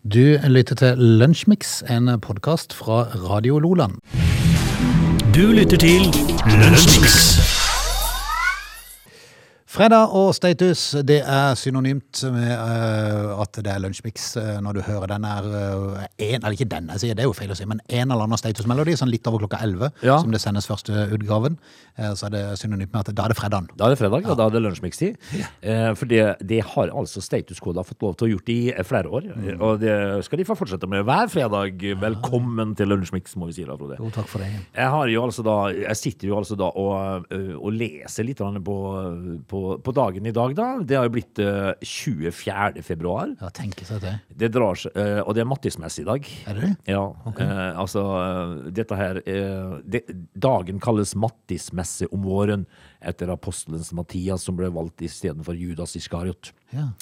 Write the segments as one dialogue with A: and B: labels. A: Du lytter til Lunsjmix, en podkast fra Radio Loland.
B: Du lytter til Lunsjmix.
A: Fredag og status det er synonymt med eh, at det er Lunsjmix eh, når du hører den er eh, en, Eller ikke den, jeg sier, det er jo feil å si, men en eller annen statusmelodi sånn litt over klokka 11,
C: Ja.
A: som det sendes første utgaven. Eh, så er det synonymt med at da er det fredagen.
C: Da er det fredag, og da er det lunsjmikstid. Eh, for det, det har altså statuskoda fått lov til å gjort i eh, flere år. eh,
B: Mm.
C: Og det skal de få fortsette med hver fredag. Velkommen til lunsjmiks, må vi si da, Frode.
A: Jo, takk for det.
C: Jeg, har jo altså da, jeg sitter jo altså da og, ø, og leser litt grann på, på, på dagen i dag, da. Det har jo blitt ø, 24. februar.
A: Ja, tenke seg til.
C: Det drar seg, ø, og det er Mattismesse i dag.
A: Er det det?
C: Ja. ø, altså, ø, dette her ø, det, Dagen kalles Mattismesse om våren etter apostelens Mattias, som ble valgt istedenfor Judas Iskariot.
A: Ja.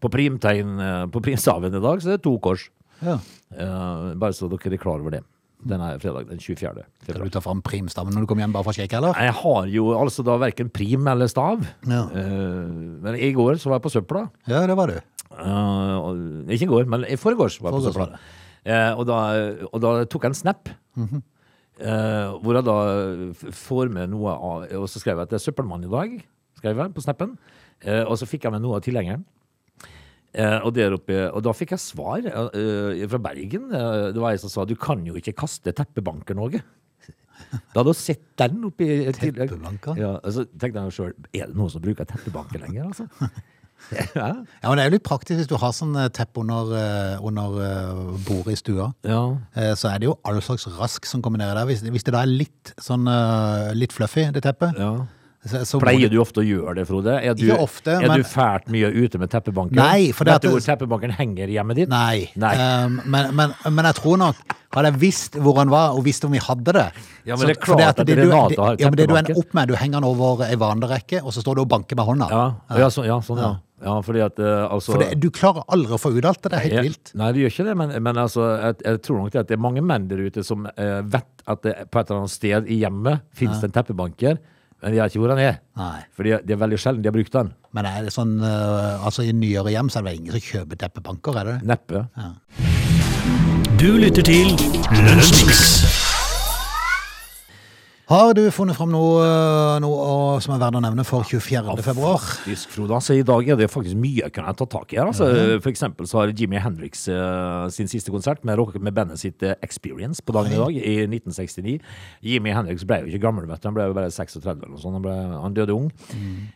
C: På, primtegn, ø, på primstaven i dag så er det to kors.
A: ja.
C: Eh, bare så dere er klar over det. Den er fredag den 24. februar.
A: Skal du ta fram primstammen når du kommer hjem bare fra shake, eller?
C: Jeg har jo altså da verken prim eller stav.
A: Ja.
C: Eh, men i går så var jeg på søpla.
A: Ja, det var du.
C: Eh, og- ikke i går, men i forgårs var jeg på
A: Forgårs var
C: søpla. Eh, og, da, og da tok jeg en snap.
A: Mhm.
C: Eh, hvor jeg da f- får med noe av Og så skrev jeg at det er søppelmann i dag. Skrev jeg på snappen. Eh, og så fikk jeg med noe av tilhengeren. Eh, og, der oppe, og da fikk jeg svar eh, eh, fra Bergen. Eh, det var ei som sa du kan jo ikke kaste teppebanker, Norge. Da hadde hun sett den oppi
A: Teppebanker?
C: Ja, altså, tenkte jeg sjøl, er det noen som bruker teppebanker lenger, altså? ja.
A: Ja, men Det er jo litt praktisk hvis du har sånn eh, tepp under, eh, under eh, bordet i stua.
C: ja.
A: eh, så er det jo all slags rask som kommer ned der. Hvis, hvis det da er litt, sånn, eh, litt fluffy, det teppet
C: Ja.
A: så, så må
C: Pleier
A: du-
C: du ofte å gjøre det, Frode? Er du,
A: Ikke ofte,
C: er
A: men-
C: du fælt mye ute med teppebanken?
A: Nei, for det
C: Vet
A: at-
C: du hvor teppebanken henger hjemme ditt?
A: Nei.
C: Nei.
A: Um, men, men, men jeg tror nok Hadde jeg visst hvor han var, og visst om vi hadde det
C: Ja, men det er
A: for
C: klart at
A: det du,
C: Renate
A: det,
C: har
A: ja, men det du
C: teppebanker.
A: ender opp med, du henger den over ei vanerekke, og så står du og banker med hånda.
C: Ja, ja, så, ja sånn ja. Ja, fordi at eh, altså...
A: For det, du klarer aldri å få ut alt det. Det er helt
C: jeg-
A: vilt.
C: Nei, det gjør ikke det, men, men altså, jeg, jeg tror nok det at det er mange menn der ute som eh, vet at det, på et eller annet sted i hjemmet finnes det en teppebanker, men de vet ikke hvor den er.
A: Nei.
C: Fordi det er veldig sjelden de har brukt den.
A: Men er det sånn, uh, altså, i nyere hjem så er det ingen som kjøper teppebanker, er det det?
C: Neppe.
B: Du lytter til Lunsjmix.
A: Har du funnet fram noe, eh, noe å- som er verdt å nevne for 24. februar?
C: Faktisk, Frode. Altså, I dag er det faktisk mye jeg kunne ta tak i. her. Altså, For eksempel så har Jimmy Hendrix eh, sin siste konsert med, rock- med bandet sitt eh, Experience på dagen i dag, i 1969. Jimmy Hendrix ble jo ikke gammel, vet du. han ble jo bare 36 eller noe sånt. Han, ble, han døde ung.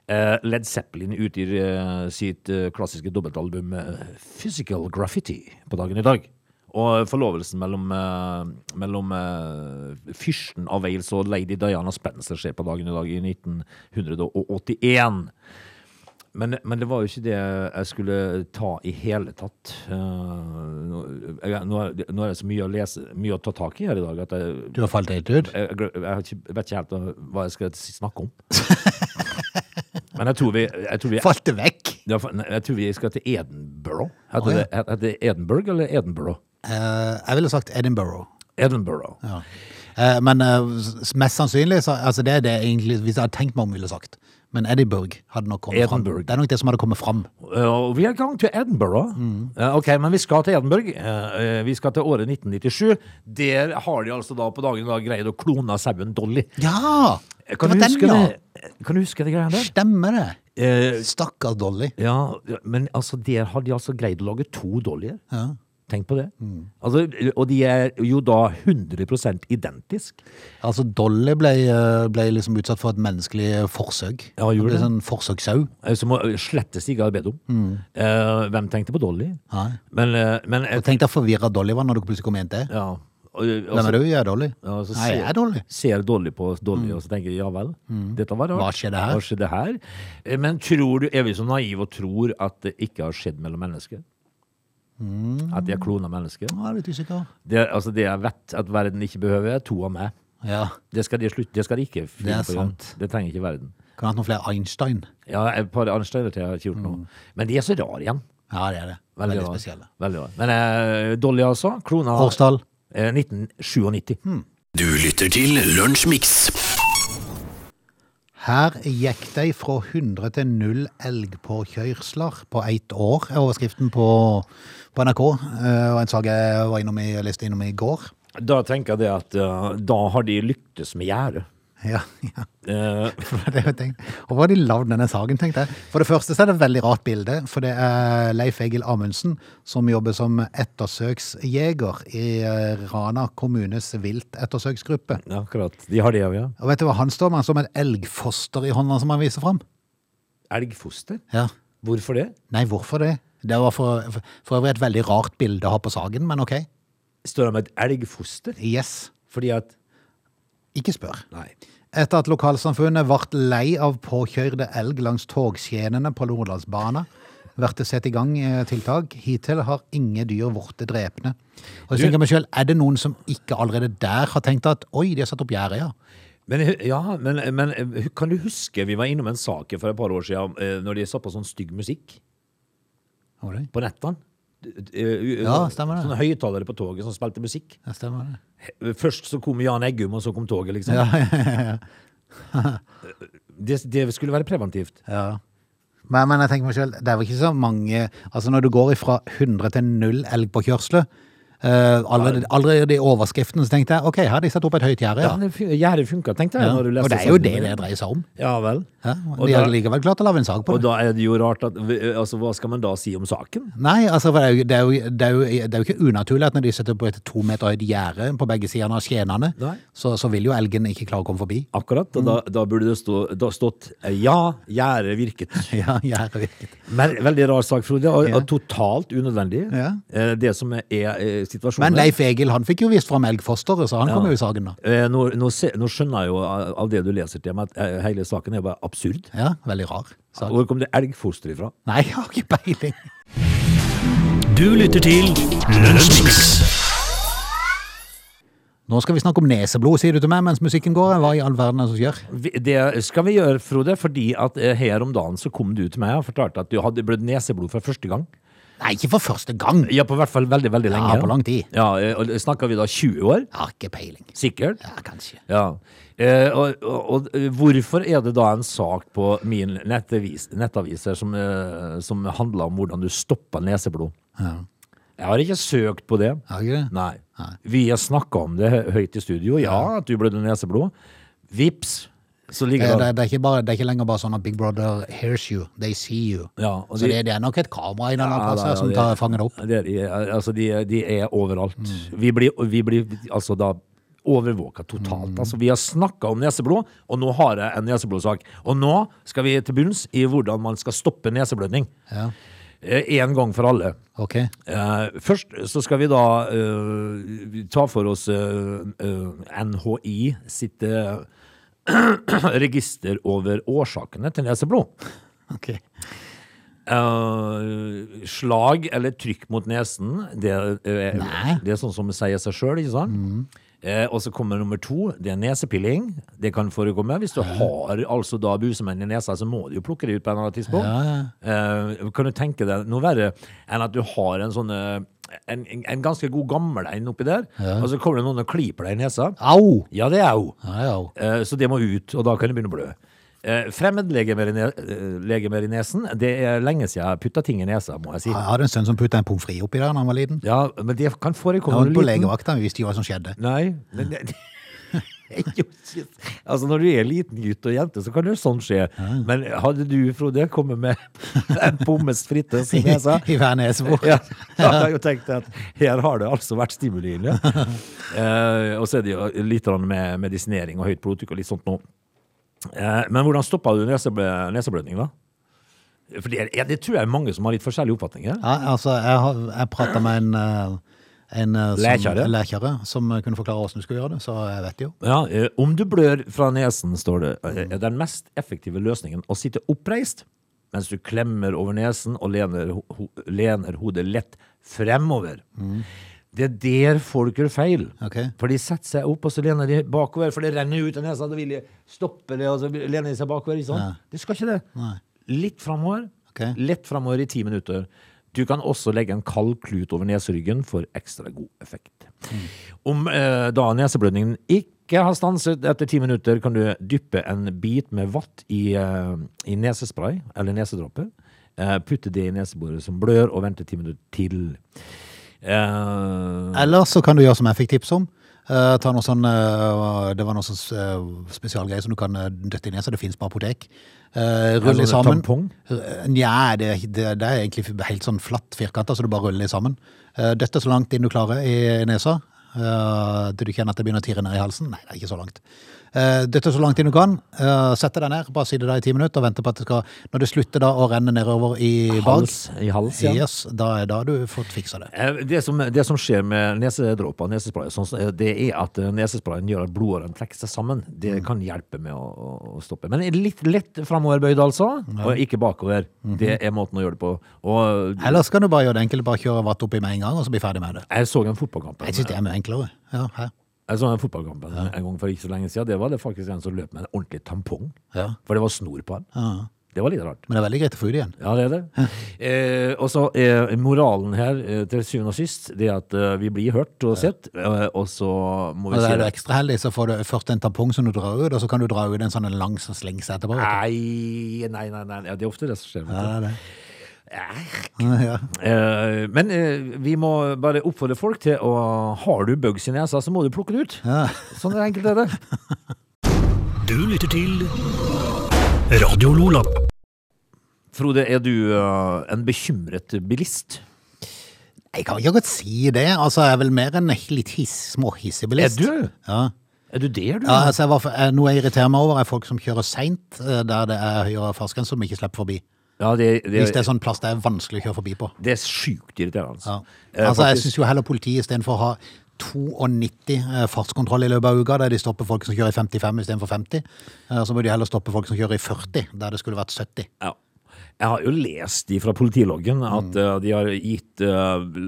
C: Eh, Led Zeppelin utgir eh, sitt eh, klassiske dobbeltalbum eh, Physical Graffiti på dagen i dag. Og forlovelsen mellom, eh, mellom eh, fyrsten av Wales og lady Diana Spencer skjer på dagen i dag i 1981. Men, men det var jo ikke det jeg skulle ta i hele tatt. Eh, nå, jeg, nå, er, nå er det så mye å lese, mye å ta tak i her i dag, at jeg,
A: Du har falt helt ut?
C: jeg, jeg, jeg, har ikke- vet ikke helt hva jeg skal snakke om. Men jeg tror vi, jeg tror vi
A: Falt det vekk?
C: ja, for- nei, jeg tror vi skal til Edinburgh. Heter,
A: Å, ja.
C: det, heter det Edinburgh eller Edinburgh?
A: Eh, jeg ville sagt Edinburgh.
C: Edinburgh.
A: Ja. Eh, men eh, s- mest sannsynlig så, altså det er det egentlig, hvis jeg hadde tenkt meg om, ville sagt. Men Edinburgh hadde nok kommet fram.
C: Edinburgh.
A: Det er nok det som hadde kommet fram.
C: Uh, vi er i gang til Edinburgh.
A: Mm.
C: Uh, ok, men vi skal til Edinburgh. Uh, uh, vi skal til året 1997. Der har de altså da på dagen i dag greid å klone sauen Dolly.
A: Ja!
C: Kan
A: det
C: du,
A: var
C: huske
A: ja.
C: det? kan du huske det greia der?
A: Stemmer det.
C: Eh,
A: Stakkars Dolly.
C: ja, men altså, der har de altså greid å lage to Dollyer.
A: Ja. Mm.
C: Tenk på det. Altså, og de er jo da 100 identisk.
A: Altså, Dolly ble, eh, ble liksom utsatt for et menneskelig forsøk.
C: Ja, gjorde
A: ble
C: det.
A: Sånn forsøkssau.
C: Eh, Som å- slettes ikke har bedt om.
A: Mm.
C: Eh, hvem tenkte på Dolly?
A: Nei.
C: Men, eh, men eh,
A: Og Tenk deg forvirra Dolly var når du plutselig kom hjem til.
C: ja. Og, eh,
A: Hvem
C: altså-
A: er du? Jeg er Dolly.
C: Ja, og så
A: Nei, jeg
C: ser-
A: er Dolly.
C: Ser Dolly på Dolly, og så tenker jeg ja vel, dette var rart.
A: Hva skjedde her?
C: Hva skjedde her? Eh, Men tror du, er vi så naive og tror at det ikke har skjedd mellom mennesker?
A: Mm.
C: At de har klona mennesker?
A: Nå er jeg litt usikker.
C: Det, er- altså det jeg vet at verden ikke behøver, er to av meg.
A: Ja.
C: Det skal de slutte, det skal de ikke finne
A: Det er
C: på å gjøre.
A: sant.
C: Det trenger ikke verden.
A: Kan ha hatt noen flere Einstein.
C: Ja, et par anstrengelser til jeg har ikke gjort noe. Men de er så rare igjen.
A: Ja, det er det. Mm. Veldig,
C: Veldig, rar.
A: spesielle.
C: Veldig rar. Men eh, Dolly altså, klona
A: Årsdal.
C: eh, 1997.
A: Hmm.
B: Du lytter til Lunsjmix.
A: Her gikk de fra 100 til 0 elgpåkjørsler på ett år, er overskriften på, på NRK. eh, Og en sak jeg var innom i, leste innom i går.
C: Da tenker jeg det at eh, da har de lyktes med gjerdet.
A: Ja, ja.
C: Eh,
A: Det er jo ting. Og hva har de lagd denne saken, tenkte jeg. For det første så er det et veldig rart bilde, for det er Leif Egil Amundsen som jobber som ettersøksjeger i eh, Rana kommunes viltettersøksgruppe.
C: ja, akkurat. De har det òg, ja.
A: Og vet du hva han står med? Som et elgfoster i hånda som han viser fram.
C: Elgfoster?
A: Ja.
C: Hvorfor det?
A: Nei, hvorfor det? Det var for, for- for øvrig et veldig rart bilde å ha på saken, men ok.
C: Står det med et elgfoster?
A: Yes.
C: Fordi at
A: Ikke spør.
C: Nei.
A: Etter at lokalsamfunnet ble lei av påkjørte elg langs togskjenene på Lordalsbana, blir det satt i gang eh, tiltak. Hittil har ingen dyr blitt drepne. Og jeg tenker meg selv, Er det noen som ikke allerede der har tenkt at oi, de har satt opp gjerdet, ja?
C: Men, ja, men, men eh, kan du huske vi var innom en sak for et par år siden eh, når de satt på sånn stygg musikk
A: Har de?
C: på nettene? eh,
A: Ja, stemmer det.
C: Sånne Sånn høyttalere på toget som spilte musikk.
A: Ja, stemmer det.
C: Først så kom Jan Eggum, og så kom toget, liksom. det, det skulle være preventivt.
A: Ja. Men, men jeg tenker meg selv, det er vel ikke så mange Altså når du går ifra 100 til 0 elg på kjørsle eh, allerede, allerede i overskriften så tenkte jeg OK, her har de satt opp et høyt gjerde,
C: Ja,
A: ja.
C: det fun- Gjerdet funka, tenkte jeg.
A: ja.
C: Når du leste
A: Og det er jo det
C: saken.
A: det dreier seg om.
C: Ja vel.
A: Ja.
C: Og
A: De
C: da-
A: har likevel klart å lage en sak på
C: Og
A: det.
C: da er det jo rart at altså, Hva skal man da si om saken?
A: Nei, altså for det er, jo, det, er jo, det, er jo, det er jo ikke unaturlig at når de setter opp et to meter høyt gjerde på begge sidene av skjenene,
C: Nei.
A: så, så vil jo elgen ikke klare å komme forbi.
C: Akkurat. Og
A: Mm.
C: da, da burde det stå, da stått eh, 'ja, gjerdet virket'.
A: Ja, gjerdet virket.
C: Men, veldig rar sak, Frode. Og,
A: Ja.
C: og totalt unødvendig.
A: Ja.
C: Eh, Det som er eh, situasjonen
A: Men Leif Egil han fikk jo vist fram elgfosteret, så han
C: Ja.
A: kom jo i saken da.
C: Eh, nå, nå, se, nå skjønner jeg jo av av det du leser til meg, at eh, hele saken er jo bare absurd.
A: Ja, veldig rar sak.
C: Hvor kom det elgfoster ifra?
A: Nei, jeg har ikke peiling.
B: Du lytter til Lunsjmix.
A: Nå skal vi snakke om neseblod, sier du til meg, mens musikken går. Hva i all verden er det som skjer?
C: Vi- Det skal vi gjøre, Frode, fordi at eh, her om dagen så kom du til meg og fortalte at du hadde blødd neseblod for første gang.
A: Nei, ikke for første gang.
C: Ja, på hvert fall veldig, veldig
A: Ja,
C: lenge.
A: på lang tid.
C: Ja, eh, og Snakker vi da 20 år?
A: Jeg har ikke peiling.
C: Sikkert.
A: Ja, kanskje.
C: Ja. Eh, og, og, og hvorfor er det da en sak på min nettavis, nettaviser som, eh, som handler om hvordan du stopper neseblod?
A: Ja.
C: Jeg har ikke søkt på det.
A: Har ikke det?
C: Nei. Vi har snakka om det hø- høyt i studio. Ja, at du blødde neseblod. Vips, så
A: Det,
C: ligger
A: det,
C: det
A: det, er ikke bare, det er ikke lenger bare sånn at Big Brother hears you, they see you.
C: ja, og
A: Så
C: de-
A: det, det er nok et kamera i denne
C: Ja,
A: plassen
C: da, ja,
A: som
C: det-
A: tar, fanger det opp.
C: det er de, altså, de, de er overalt. Vi, blir, vi blir altså da overvåka totalt. Altså, vi har snakka om neseblod, og nå har jeg en neseblodsak. Og nå skal vi til bunns i hvordan man skal stoppe neseblødning.
A: Ja,
C: Én gang for alle.
A: ok.
C: Eh, først så skal vi da eh, ta for oss eh, eh, NHI sitt eh, register over årsakene til neseblod.
A: Ok.
C: Eh, slag eller trykk mot nesen, det, eh,
A: Nei.
C: det er sånn som sier seg sjøl, ikke sant? Eh, og så kommer nummer to, det er nesepilling. Det kan forekomme. Hvis du har altså da busemenn i nesa, så må du jo plukke det ut på en eller annen tidspunkt. Eh, kan du tenke deg noe verre enn at du har en sånn eh, en, en, en ganske god gammel en oppi der, og så kommer det noen og kliper deg i nesa?
A: Au!
C: Ja, det er jo.
A: Ja, ja, au.
C: Eh, Så det må ut, og da kan det begynne å blø. Eh, Fremmedlegemer i ne- eh, legemer i nesen, det er lenge siden jeg har putta ting i nesa, må jeg si.
A: Jeg hadde en sønn som puttet en pommes frites oppi der da han var liten.
C: Ja, men det kan
A: Han
C: forekomme
A: var
C: når du
A: på
C: er liten.
A: legevakta, vi visste ikke hva som skjedde.
C: Nei, men det, det er jo ikke- Altså, når du er liten gutt og jente, så kan jo sånn skje. Men hadde du, Frode, kommet med en pommes frites i nesa
A: I hver nesebord.
C: ja, da hadde jeg jo tenkt at her har det altså vært stimuli. Ja. Eh, og så er det jo litt grann med medisinering og høyt blodtrykk og litt sånt nå. Eh, men hvordan stoppa du neseblø neseblødning, da? For det, er- ja, det tror jeg er mange som har litt forskjellige oppfatninger.
A: Ja, altså, jeg, har- jeg pratet med en... eh, En eh, som,
C: Lækjere.
A: lækjere som eh, kunne forklare hvordan du skulle gjøre det, så jeg vet jo.
C: Ja, eh, om du blør fra nesen, står det, eh, er den mest effektive løsningen å sitte oppreist mens du klemmer over nesen og lener, ho ho- lener hodet lett fremover. Det er der folk gjør feil.
A: Ok.
C: For de setter seg opp, og så lener de bakover, for det renner jo ut av nesa. Da vil de stoppe det, og så lener de seg bakover. Ikke sant?
A: Ja.
C: Det skal ikke det.
A: Nei.
C: Litt framover.
A: Ok.
C: Lett framover i ti minutter. Du kan også legge en kald
A: Mm.
C: klut over neseryggen for ekstra god effekt. Om eh, da neseblødningen ikke ikke har stanset etter ti minutter, kan du dyppe en bit med vatt i, eh, i nesespray, eller nesedråper. eh, Putte det i neseboret som blør, og vente ti minutter til. Eh,
A: Eller så kan du gjøre som jeg fikk tips om. Eh, ta noe sånn, eh, det var noe sånn eh, spesialgreier som du kan eh, døtte inn i, så det finnes på apotek. Uh, rulle
C: Ja, sånn
A: sammen.
C: tampong?
A: R- Nja, det, er ikke- det, det er egentlig helt sånn flatt firkanta, så du bare ruller de sammen. Eh, døtte så langt inn du klarer i nesa. eh, til du kjenner at det begynner å tirre ned i halsen. Nei, det er ikke så langt. Eh, døtte så langt inn du kan. Uh, Sette deg ned, bare sitte der i ti minutter og vente på at det skal Når det slutter da å renne nedover i bag,
C: hals, I hals, ja.
A: yes, da er da har du fått fiksa det.
C: Eh, Det som, det som skjer med nesedråper og nesespray, sånn, som- det er at eh, nesesprayen gjør at blodårene trekker seg sammen. Det kan hjelpe med å, å- å stoppe. Men litt lett framoverbøyd, altså. Og ikke bakover. Det er måten å gjøre det på. Og
A: Ellers kan du bare gjøre det enkelt, bare kjøre vatt oppi med en gang, og så bli ferdig med det.
C: jeg så en fotballkamp
A: Jeg synes det er mye enklere. Ja, hæ?
C: Jeg så en fotballkamp en en gang for ikke så lenge siden. Det var det faktisk en som løp med en ordentlig tampong.
A: Ja.
C: For det var snor på den.
A: ja.
C: Det var litt rart.
A: Men det er veldig greit å få ut igjen.
C: Ja, det er det. Eh, og så eh, moralen her eh, til syvende og sist, det er at eh, vi blir hørt og sett, eh, og så må
A: Og
C: vi
A: da
C: si
A: er du
C: det.
A: ekstra heldig, så får du først en tampong som du drar ut, og så kan du dra ut en sånn en lang som slengs etterpå. vet
C: Nei, nei, nei, nei. Ja, det er ofte det som
A: du.
C: skjer. vet
A: Ja,
C: du.
A: det er det. Ja.
C: Eh, men eh, vi må bare oppfordre folk til å Har du bugs i nesa, så må du plukke det ut.
A: Ja.
C: Sånn er enkelt er det.
B: Du lytter til Radio Lola.
C: Frode, er du eh, en bekymret bilist?
A: Jeg kan ikke godt si det. Altså, jeg er vel mer en litt hiss, småhissebilist.
C: Er du?
A: Ja.
C: Er du det, er du?
A: ja altså, jeg var, for- eh, noe jeg irriterer meg over, er folk som kjører seint eh, der det er høyere fartsgrense som ikke slipper forbi.
C: Ja, det, det,
A: Hvis det er sånn plass det er vanskelig å kjøre forbi på.
C: det er sjukt irriterende.
A: Ja.
C: Eh,
A: Altså, jeg
C: faktisk-
A: syns jo heller politiet istedenfor å ha 92 eh, fartskontroll i løpet av uka, der de stopper folk som kjører i 55 istedenfor 50, eh, så bør de heller stoppe folk som kjører i 40, der det skulle vært 70.
C: Ja. Jeg har jo lest fra politiloggen at
A: Mm.
C: eh, de har gitt, eh,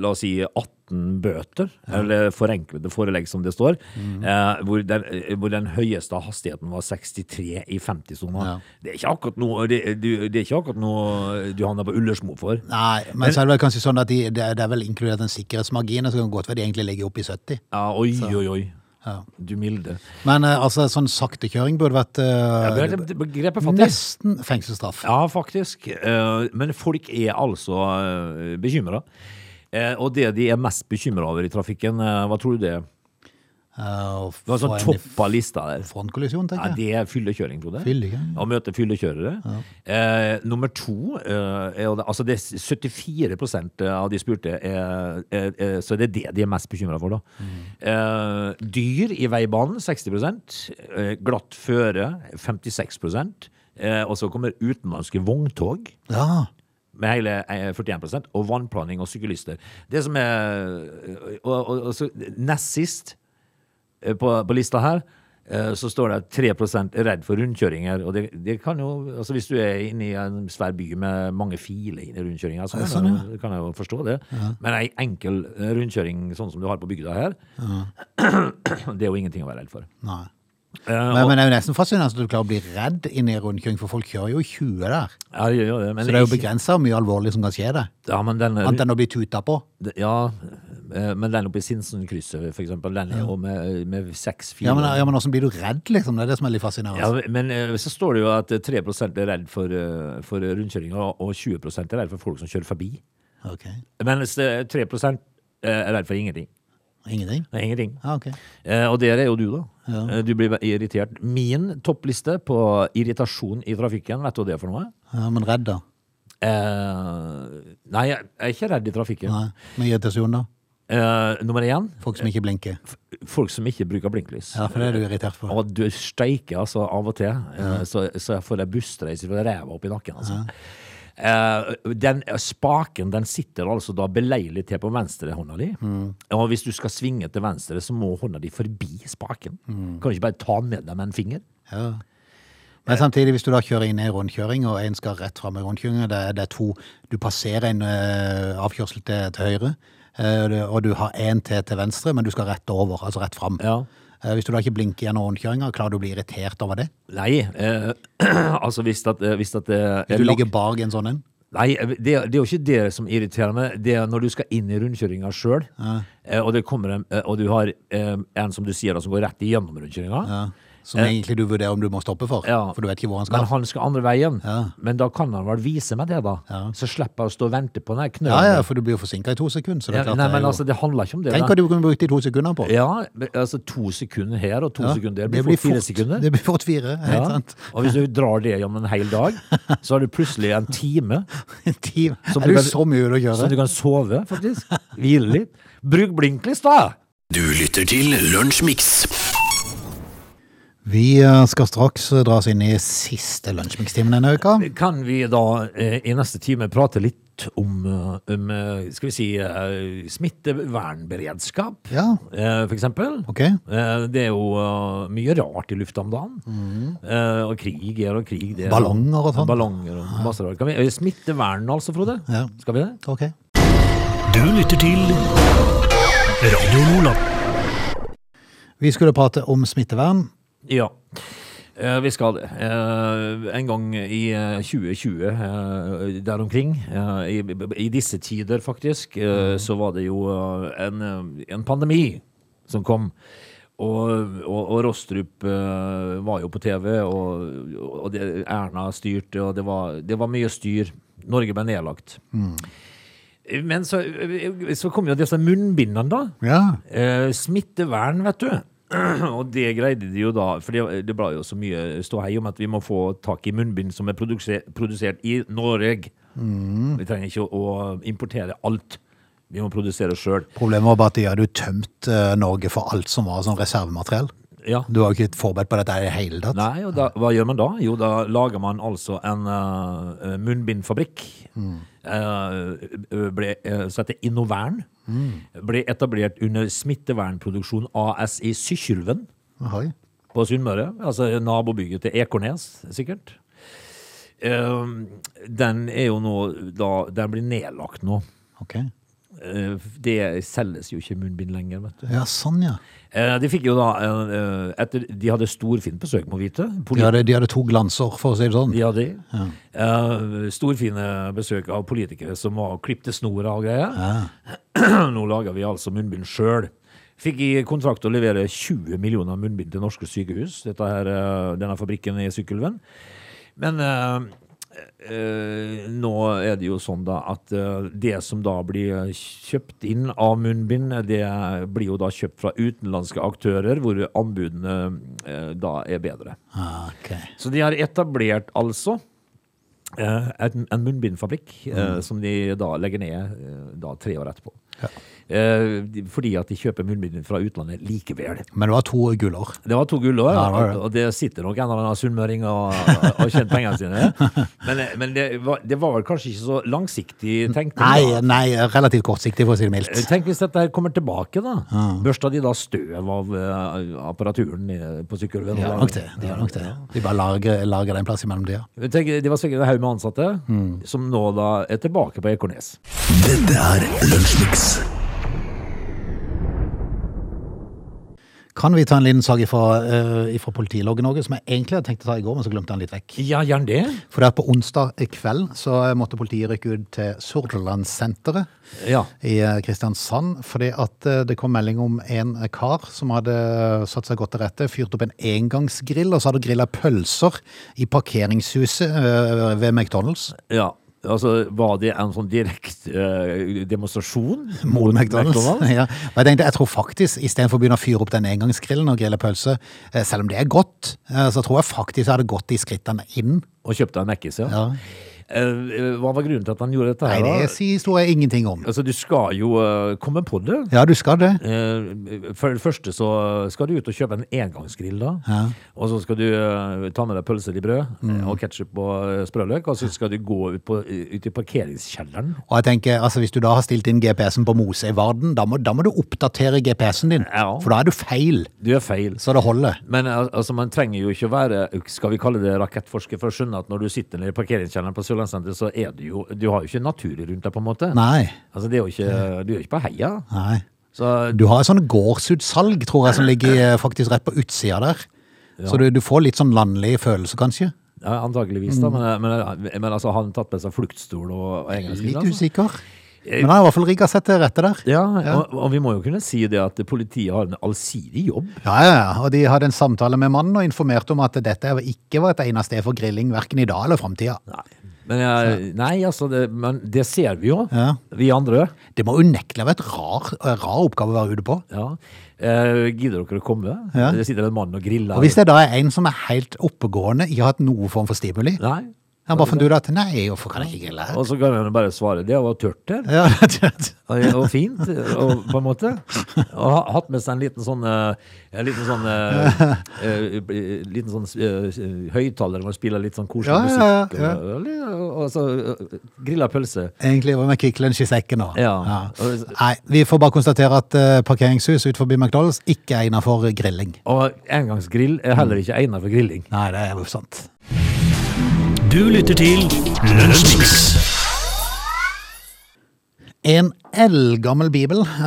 C: la oss si, 18 bøter, eller forenklede forelegg som det står,
A: Mm.
C: eh, hvor, den, eh, hvor den høyeste hastigheten var 63 i 50-sona.
A: Ja.
C: Det er ikke akkurat noe, det, du, det er ikke akkurat noe du havner på Ullersmo for.
A: Nei, men, så er det vel kanskje sånn at de, det, er- det er vel inkludert en sikkerhetsmargin, så kan det godt være de egentlig legger opp i 70.
C: Ja, oi, oi, oi. Du milde.
A: Men eh, altså, sånn saktekjøring burde vært eh,
C: Ja, det er begrepet fattig.
A: nesten fengselsstraff.
C: Ja, faktisk. Eh, Men folk er altså eh, bekymra. Eh, Og det de er mest bekymra over i trafikken, eh, hva tror du det er?
A: Eh, og
C: Det var
A: få
C: sånn
A: en
C: topp av lista der.
A: Frontkollisjon,
C: Ja,
A: tenker jeg.
C: det er fyllekjøring, Frode.
A: Fyllekjøring,
C: Å møte fyllekjørere. Eh, nummer to eh, er jo det, Altså, det er 74 eh, av de spurte, er, er, er, så det er det de er mest bekymra for, da. Eh, dyr i veibanen, 60 eh, Glatt føre, 56 eh, Og så kommer utenlandske vogntog
A: Ja.
C: med hele eh, 41 og vannplaning og syklister. Det som er eh, og, og, og så Nest sist eh, på, på lista her, eh, så står det at 3 er redd for rundkjøringer. Og det, det kan jo altså Hvis du er inne i en svær by med mange filer inn i rundkjøringer, så kan,
A: sånn,
C: jeg, jo- kan jeg jo forstå det. Men ei enkel eh, rundkjøring sånn som du har på bygda her, det er jo ingenting å være redd for.
A: Nei.
C: Eh,
A: Men,
C: og,
A: men det er jo nesten fascinerende at du klarer å bli redd inne i rundkjøring, for folk kjører jo i 20 der.
C: ja, det gjør jo det, men
A: Så det er jo
C: ikke-
A: begrensa hvor mye alvorlig som kan skje det.
C: ja, men den, eh,
A: Annet enn å bli tuta på.
C: Det- Ja, eh, men den oppe i Sinsenkrysset, for eksempel, den er jo med, eh, med seks
A: Ja, men,
C: filer.
A: ja, men åssen blir du redd, liksom? Det er det som er litt fascinerende.
C: Ja, men eh, så står det jo at eh, 3 er redd for, eh, for rundkjøringer, og- og 20 er redd for folk som kjører forbi.
A: Ok.
C: Mens eh, 3 er redd for ingenting.
A: Ingenting?
C: Det er Ingenting.
A: Ja, ok.
C: Eh, Og der er jo du, da. Eh, Du blir irritert. Min toppliste på irritasjon i trafikken, vet du hva det er for noe?
A: Ja, men redd, da?
C: Eh, nei, jeg er ikke redd i trafikken.
A: Nei. Med irritasjon, da?
C: Eh, nummer én,
A: Folk som ikke blinker?
C: folk som ikke bruker blinklys.
A: Ja, for det er du irritert for.
C: Og du steiker altså av og til, eh, så, så jeg får deg bustreiser fra ræva opp i nakken. Altså. Eh, Den spaken den sitter altså da beleilig til på venstre hånda di. Og hvis du skal svinge til venstre, så må hånda di forbi spaken. Kan du ikke bare ta med deg med en finger?
A: Ja. Men samtidig, hvis du da kjører inn i rundkjøring, og en skal rett fram i rundkjøringen, det, er- det er to Du passerer en eh, avkjørsel til, til høyre, eh, det- og du har én til til venstre, men du skal rett over, altså rett fram.
C: Ja.
A: Eh, Hvis du da ikke blinker gjennom rundkjøringa, klarer du å bli irritert over det?
C: Nei, eh, altså hvis at, hvis at eh,
A: Hvis du ligger bak en sånn en?
C: Nei, eh, det, det er jo ikke det som irriterer meg. Det er når du skal inn i rundkjøringa sjøl, og, det kommer en- eh, og du har eh, en som du sier da, som går rett igjennom rundkjøringa.
A: Ja. Som egentlig du vurderer om du må stoppe for,
C: Eh. Ja.
A: for du vet ikke hvor han skal.
C: Men han skal andre veien.
A: Ja.
C: Men da kan han vel vise meg det, da. Så slipper jeg å stå og vente på den her knølen.
A: Ja, ja, for du blir jo forsinka i to sekunder. Så det
C: Ja,
A: er klart
C: nei,
A: det er
C: men
A: jo...
C: altså, det handler ikke om det.
A: Tenk
C: da.
A: hva du kunne brukt de to sekundene på.
C: Ja, men altså to sekunder her og to
A: Ja,
C: sekunder der. Det blir fort fire sekunder.
A: Det blir fort fire, helt
C: Ja.
A: sant.
C: Og hvis du drar det gjennom en hel dag, så har du plutselig en time
A: En time.
C: Som
A: er
C: du
A: det
C: kan-
A: så mye å
C: som
A: gjøre?
C: du kan sove, faktisk. Hvile litt. Bruk blinklys, da!
B: Du lytter til Lunsjmix.
A: Vi eh, skal straks eh, dras inn i siste lunsjmikstimen denne uka.
C: Kan vi da eh, i neste time prate litt om, eh, om eh, skal vi si, eh, smittevernberedskap,
A: Ja,
C: eh, for eksempel?
A: ok.
C: Eh, Det er jo eh, mye rart i lufta om dagen. Eh, Og krig er og krig. Det er,
A: Mhm. Ballonger og sånn.
C: Ballonger og masse rart. Kan vi, eh, smittevern altså, Frode?
A: Ja.
C: Skal vi det?
A: Ok.
B: Du lytter til Radio Lola.
A: Vi skulle prate om smittevern.
C: Ja. Eh, Vi skal det. Eh, En gang i eh, 2020, eh, der omkring, eh, i, i disse tider faktisk, eh, så var det jo eh, en, eh, en pandemi som kom. Og, og, og Rostrup eh, var jo på TV, og, og det, Erna styrte, og det var, det var mye styr. Norge ble nedlagt. Men så, eh, så kom jo disse munnbindene, da.
A: Ja.
C: Eh, smittevern, vet du. Og det greide de jo da, for det, det ble jo så mye ståhei om at vi må få tak i munnbind som er produsert, produsert i Norge. Vi trenger ikke å, å importere alt. Vi må produsere sjøl.
A: Problemet var bare at de hadde jo tømt eh, Norge for alt som var sånn reservemateriell.
C: Ja.
A: Du var jo ikke forberedt på dette i det hele tatt.
C: Nei, og da, hva gjør man da? Jo, da lager man altså en eh, munnbindfabrikk. Eh, ble, eh, som heter Innovern. Ble etablert under Smittevernproduksjon AS i Sykkylven.
A: Oi.
C: På Sunnmøre. Altså nabobygget til Ekornes, sikkert. Ehm, Den er jo nå da, Den blir nedlagt nå.
A: Ok.
C: Eh, Det selges jo ikke munnbind lenger, vet du.
A: Ja, sånn ja.
C: Eh, De fikk jo da eh, eh, etter, De hadde storfint besøk, må vite.
A: De
C: Polit-
A: hadde, de hadde to glansår, for å si det sånn.
C: De hadde det. Eh, Storfine besøk av politikere som var klippte snora og greier. Nå lager vi altså munnbind sjøl. Fikk i kontrakt å levere 20 millioner munnbind til norske sykehus, dette her, eh, denne fabrikken i Sykkylven. Men eh, eh, nå er det jo sånn da at eh, det som da blir kjøpt inn av munnbind, det blir jo da kjøpt fra utenlandske aktører, hvor anbudene eh, da er bedre.
A: Ah, ok.
C: Så de har etablert altså eh, et, en munnbindfabrikk
A: Mm.
C: eh, som de da legger ned eh, da tre år etterpå. Eh, de- fordi at de kjøper munnbind fra utlandet likevel.
A: Men det var to gullår.
C: Det var to gullår,
A: Ja, det var det.
C: og- og det sitter nok en eller annen sunnmøring og, og tjent pengene sine. Men, eh, men det, var, det var vel kanskje ikke så langsiktig tenkning.
A: Nei,
C: da.
A: nei, relativt kortsiktig, for å si det mildt.
C: Tenk hvis dette her kommer tilbake, da. Børsta de da støv av eh, apparaturen i- på sykkelven?
A: De gjør nok det. De, gjør nok det. de bare lager, lager det en plass imellom de, ja.
C: Jeg tenker, Det var sikkert en haug med ansatte
A: Mm.
C: som nå da er tilbake på Ekornes.
B: Dette er Lunsjmix.
A: Kan vi ta en liten sak eh, fra, fra politiloggen også, som jeg egentlig hadde tenkt å ta i går, men så glemte jeg den litt vekk.
C: Ja, gjerne det.
A: For det er på onsdag i kveld så eh, måtte politiet rykke ut til Sordalandssenteret
C: Ja.
A: i eh, Kristiansand, fordi at eh, det kom melding om en eh, kar som hadde eh, satt seg godt til rette, fyrt opp en engangsgrill, og så hadde grilla pølser i parkeringshuset eh, ved McDonald's.
C: ja. Altså, Var det en sånn direkte eh, demonstrasjon?
A: Mot McDonald's. Ja. Og jeg tenkte, jeg tror faktisk, istedenfor å begynne å fyre opp den engangsgrillen og grille pølse, eh, selv om det er godt, eh, så tror jeg faktisk jeg hadde gått de skrittene inn.
C: Og kjøpte en Mekkis, ja.
A: Ja.
C: Eh, eh, hva var grunnen til at han gjorde dette?
A: Nei,
C: her? da?
A: det sier historien ingenting om.
C: Altså, Du skal jo eh, komme på det.
A: Ja, du skal det.
C: Eh, For det første så skal du ut og kjøpe en engangsgrill da Og så skal du eh, ta med deg pølser i brød
A: Mm.
C: eh, Og ketchup og eh, sprøløk Og så skal du gå ut, på, ut i parkeringskjelleren
A: Og jeg tenker, altså Hvis du da har stilt inn GPS-en på Mose i Varden, da må, da må du oppdatere GPS-en din.
C: Ja.
A: For da er du feil,
C: Du gjør feil
A: så det holder.
C: Men al- altså, man trenger jo ikke å være, skal vi kalle det rakettforsker, for å skjønne at når du sitter nede i parkeringskjelleren på Sørlandssenteret, så er du jo Du har jo ikke naturen rundt deg, på en måte.
A: Nei.
C: Altså, det er jo ikke, du er jo ikke på heia.
A: nei.
C: Så
A: Du har et sånn gårdsutsalg, tror jeg, som ligger eh, faktisk rett på utsida der. Så du, du får litt sånn landlig følelse, kanskje.
C: Ja, antakeligvis,
A: Mm.
C: da. Men, men, men altså, han tatt med seg fluktstol og, og engelsk.
A: Litt usikker. Men han har i hvert fall rigga seg til rette der.
C: altså. Ja, Og, og vi må jo kunne si det at politiet har en allsidig jobb.
A: Ja, ja, ja. Og de hadde en samtale med mannen og informerte om at dette ikke var et egnet sted for grilling, verken i dag eller framtida.
C: Nei, men, jeg, nei altså, det, men det ser vi jo,
A: Ja.
C: vi andre.
A: Det må unektelig være et rar, eh, rar oppgave å være ute på.
C: Ja. Eh, gidder dere å komme?
A: Ja.
C: Det sitter en mann og griller.
A: Og hvis det da er en som er helt oppegående, ikke har hatt noe form for stimuli,
C: Nei.
A: han bare fant ut at nei, hvorfor kan jeg ikke grille her?
C: Og så kan han bare svare det var tørt der,
A: Ja, det er-
C: og, og fint, og, på en måte. Og ha, hatt med seg en liten sånn eh, En liten sånn, eh, eh, liten sånn eh, høyttaler hvor man spiller litt sånn koselig
A: Ja, ja,
C: musikk.
A: ja,
C: Og, og, og så eh, grilla pølse.
A: Egentlig var vi Kvikk Lunsj i sekken nå.
C: Ja.
A: Nei, vi får bare konstatere at eh, parkeringshus utenfor McDonald's ikke er egnet for grilling.
C: Og engangsgrill er heller ikke egnet for grilling.
A: Nei, det er jo sant.
B: Du lytter til Lunsjmix.
A: En eldgammel bibel eh,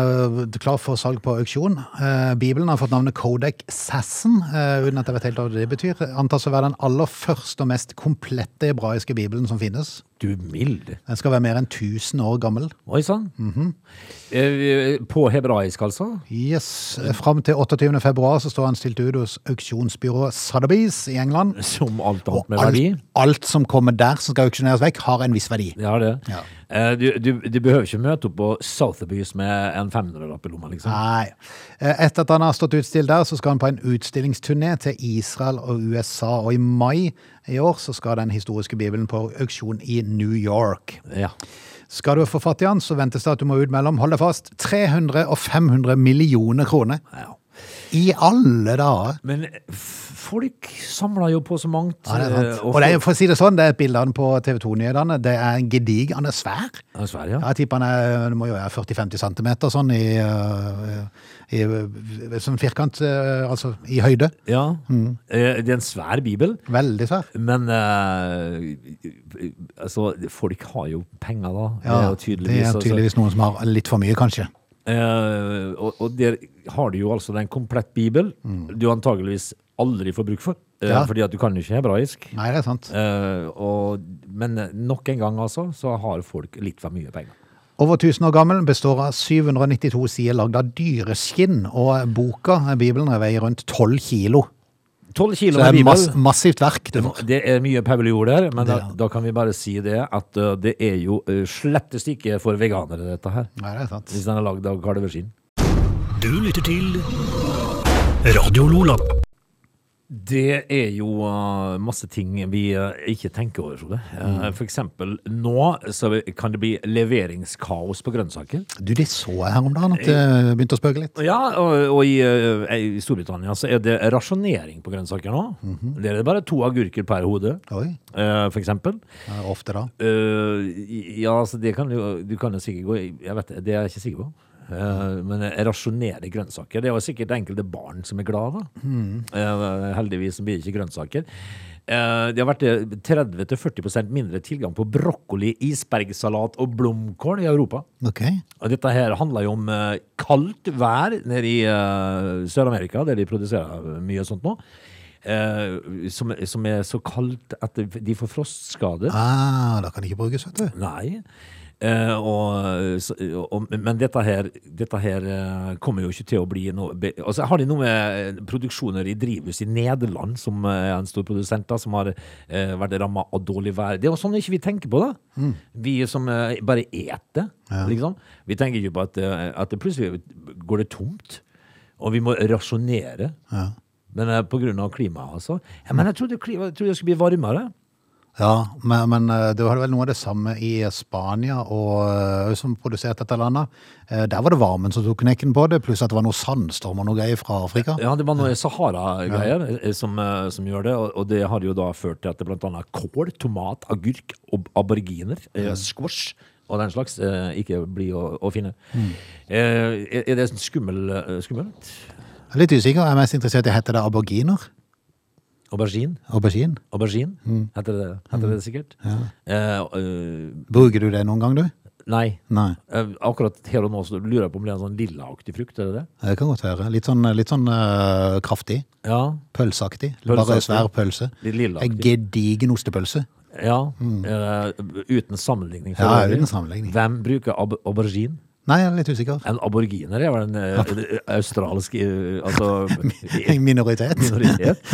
A: er klar for salg på auksjon. Eh, Bibelen har fått navnet Codec Sassen, eh, uten at jeg vet helt hva det betyr. Antas å være den aller første og mest komplette hebraiske bibelen som finnes.
C: Du mild.
A: Den skal være mer enn 1000 år gammel.
C: Oi sann.
A: Mhm.
C: Eh, På hebraisk, altså?
A: Yes. Fram til 28. februar så står han stilt ut hos auksjonsbyrået Sotheby's i England.
C: Som alt
A: Og
C: annet med
A: alt,
C: verdi?
A: alt som kommer der som skal auksjoneres vekk, har en viss verdi.
C: Det har det.
A: Ja.
C: Eh, Du, du, du behøver ikke møte opp på Sotheby's med en 500-lapp i lomma, liksom.
A: Nei. Eh, Etter at han har stått utstilt der, så skal han på en utstillingsturné til Israel og USA. Og i mai i år så skal den historiske bibelen på auksjon i New York.
C: Ja.
A: Skal du få fatt i han, så ventes det at du må ut mellom, hold deg fast, 300 og 500 millioner kroner.
C: ja.
A: I alle dager!
C: Men f- folk samler jo på så mangt.
A: Ja, det er sant.
C: eh,
A: Og det er, for å si det sånn, det er et bilde av han på TV 2-nyhetene. Det er en gedig, han er svær.
C: folk- Ja, Sverige, ja.
A: Jeg tipper han er, det må jo være 40-50 centimeter sånn i, øh, i øh, sånn firkant, øh, altså i høyde.
C: ja.
A: Mm.
C: Eh, Det er en svær bibel.
A: Veldig svær.
C: Men eh, altså, folk har jo penger, da. det er jo tydeligvis.
A: det er tydeligvis noen som har litt for mye, kanskje.
C: Altså. Eh, og, og der har du jo altså en komplett bibel du antageligvis aldri får bruk for. eh,
A: Mm. Ja.
C: Fordi at du kan jo ikke hebraisk.
A: Nei, det er sant.
C: Eh, og, men nok en gang, altså, så har folk litt for mye penger.
A: Over 1000 år gammel består av 792 sider lagd av dyreskinn, og boka, Bibelen, veier rundt 12 kilo.
C: 12
A: Så
C: kilo
A: det
C: med
A: er
C: bibel.
A: mass, massivt verk. Du får.
C: Det er mye pauliord der, men da,
A: Det er-
C: da kan vi bare si det at eh, det er jo uh, slettes ikke for veganere, dette her.
A: Nei, det er sant.
C: Hvis den er lagd av kalveskinn.
B: Du lytter til Radio Lola.
C: Det er jo eh, masse ting vi eh, ikke tenker over, Frode. Uh, For eksempel nå så kan det bli leveringskaos på grønnsaker.
A: Du, de så jeg her om dagen at det begynte å spøke litt.
C: Ja, og, og i, eh, i Storbritannia så er det rasjonering på grønnsaker nå. Der er det bare to agurker per hode.
A: Oi,
C: Eh, for eksempel.
A: det er ofte da.
C: Eh, ja, altså det kan jo Du kan jo sikkert gå i- Jeg vet det, det er jeg ikke sikker på. Eh, men rasjonere grønnsaker. Det er jo sikkert enkelte barn som er glad, da. Eh, heldigvis så blir det ikke grønnsaker. Eh, det har vært eh, 30-40 mindre tilgang på brokkoli, isbergsalat og blomkål i Europa.
A: Ok.
C: Og dette her handler jo om eh, kaldt vær nede i eh, Sør-Amerika, der de produserer mye sånt nå. eh, som, som er så kaldt at de får frostskader.
A: Ah, da kan det ikke brukes, vet du.
C: Nei. Eh, og, så- og, men dette her, dette her eh, kommer jo ikke til å bli noe be- altså, Har de noe med produksjoner i drivhus i Nederland, som eh, er en stor produsent, da, som har eh, vært ramma av dårlig vær? Det er jo sånn ikke vi tenker på, da. Vi som eh, bare eter. Liksom. Vi tenker ikke på at, eh, at det plutselig går det tomt, og vi må rasjonere. Men eh, på grunn av klimaet, altså. Ja, men jeg trodde, klima, jeg trodde det skulle bli varmere.
A: Ja, men, men eh, det var vel noe av det samme i Spania og, eh, som produserte dette landet. Eh, Der var det varmen som tok knekken på det, pluss at det var noe sandstorm og noe greier fra Afrika.
C: Ja, det var noe Sahara-greier eh, som, eh, som gjør det, og, og det har jo da ført til at det blant annet kål, tomat, agurk, og aboriginer, eh, squash og den slags eh, ikke blir å, å finne.
A: Mm.
C: Eh, er- er det sånn skummel, eh, skummelt?
A: Jeg er Litt usikker, jeg er mest interessert i heter det aborginer?
C: Aubergine?
A: Aubergine? Mm.
C: Aubergine heter, det, heter det sikkert. Eh, eh,
A: Bruker du det noen gang, du?
C: Nei.
A: Nei.
C: Eh, Akkurat her og nå så lurer jeg på om det er en sånn lillaaktig frukt, er det det?
A: Det kan godt være. Litt sånn, litt sånn øh, kraftig.
C: Ja.
A: Pølseaktig. Bare
C: Pølseaktig.
A: svær pølse.
C: Litt
A: En
C: lillaaktig.
A: gedigen ostepølse.
C: Ja. eh, Uten sammenligning. for
A: Ja,
C: øvrig.
A: uten sammenligning.
C: Hvem bruker ab aubergine?
A: Nei, jeg er litt usikker.
C: En aboriginer er vel en eh, australsk eh, altså,
A: En minoritet
C: minoritet.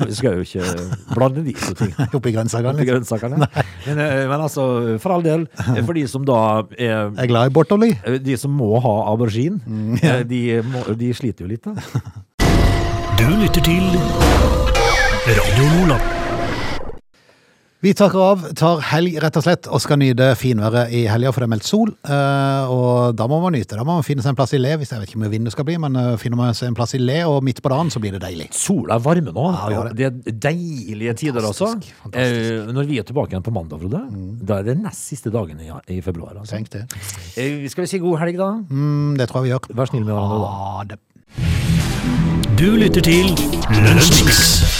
C: Vi skal jo ikke blande de to tingene.
A: oppe i grensegangen.
C: til
A: Liksom.
C: grønnsakene. Men, eh, men altså, for all del, eh, for de som da er
A: Jeg er glad i Bortoli.
C: eh, de som må ha aubergine,
A: Mm,
C: eh, de, må, de sliter jo litt, da.
B: Du lytter til Radio Lola.
A: Vi takker av, tar helg rett og slett, og skal nyte finværet i helga, for det er meldt sol. eh, og da må man nyte. Da må man finne seg en plass i le, hvis jeg vet ikke hvor mye vind det skal bli, men eh, finner man seg en plass i le, og midt på dagen, så blir det deilig.
C: Sola er varme nå.
A: Ja,
C: og det er deilige tider også.
A: Fantastisk, fantastisk. Mm.
C: Eh, Når vi er tilbake igjen på mandag, Frode, da er det nest siste dagen i, i februar. Altså.
A: Tenk det.
C: Eh, Skal vi si god helg, da?
A: Mm, det tror jeg vi gjør. Ah,
C: Vær snill med hverandre, da.
A: Ha det.
B: Du lytter til Lønnsmix.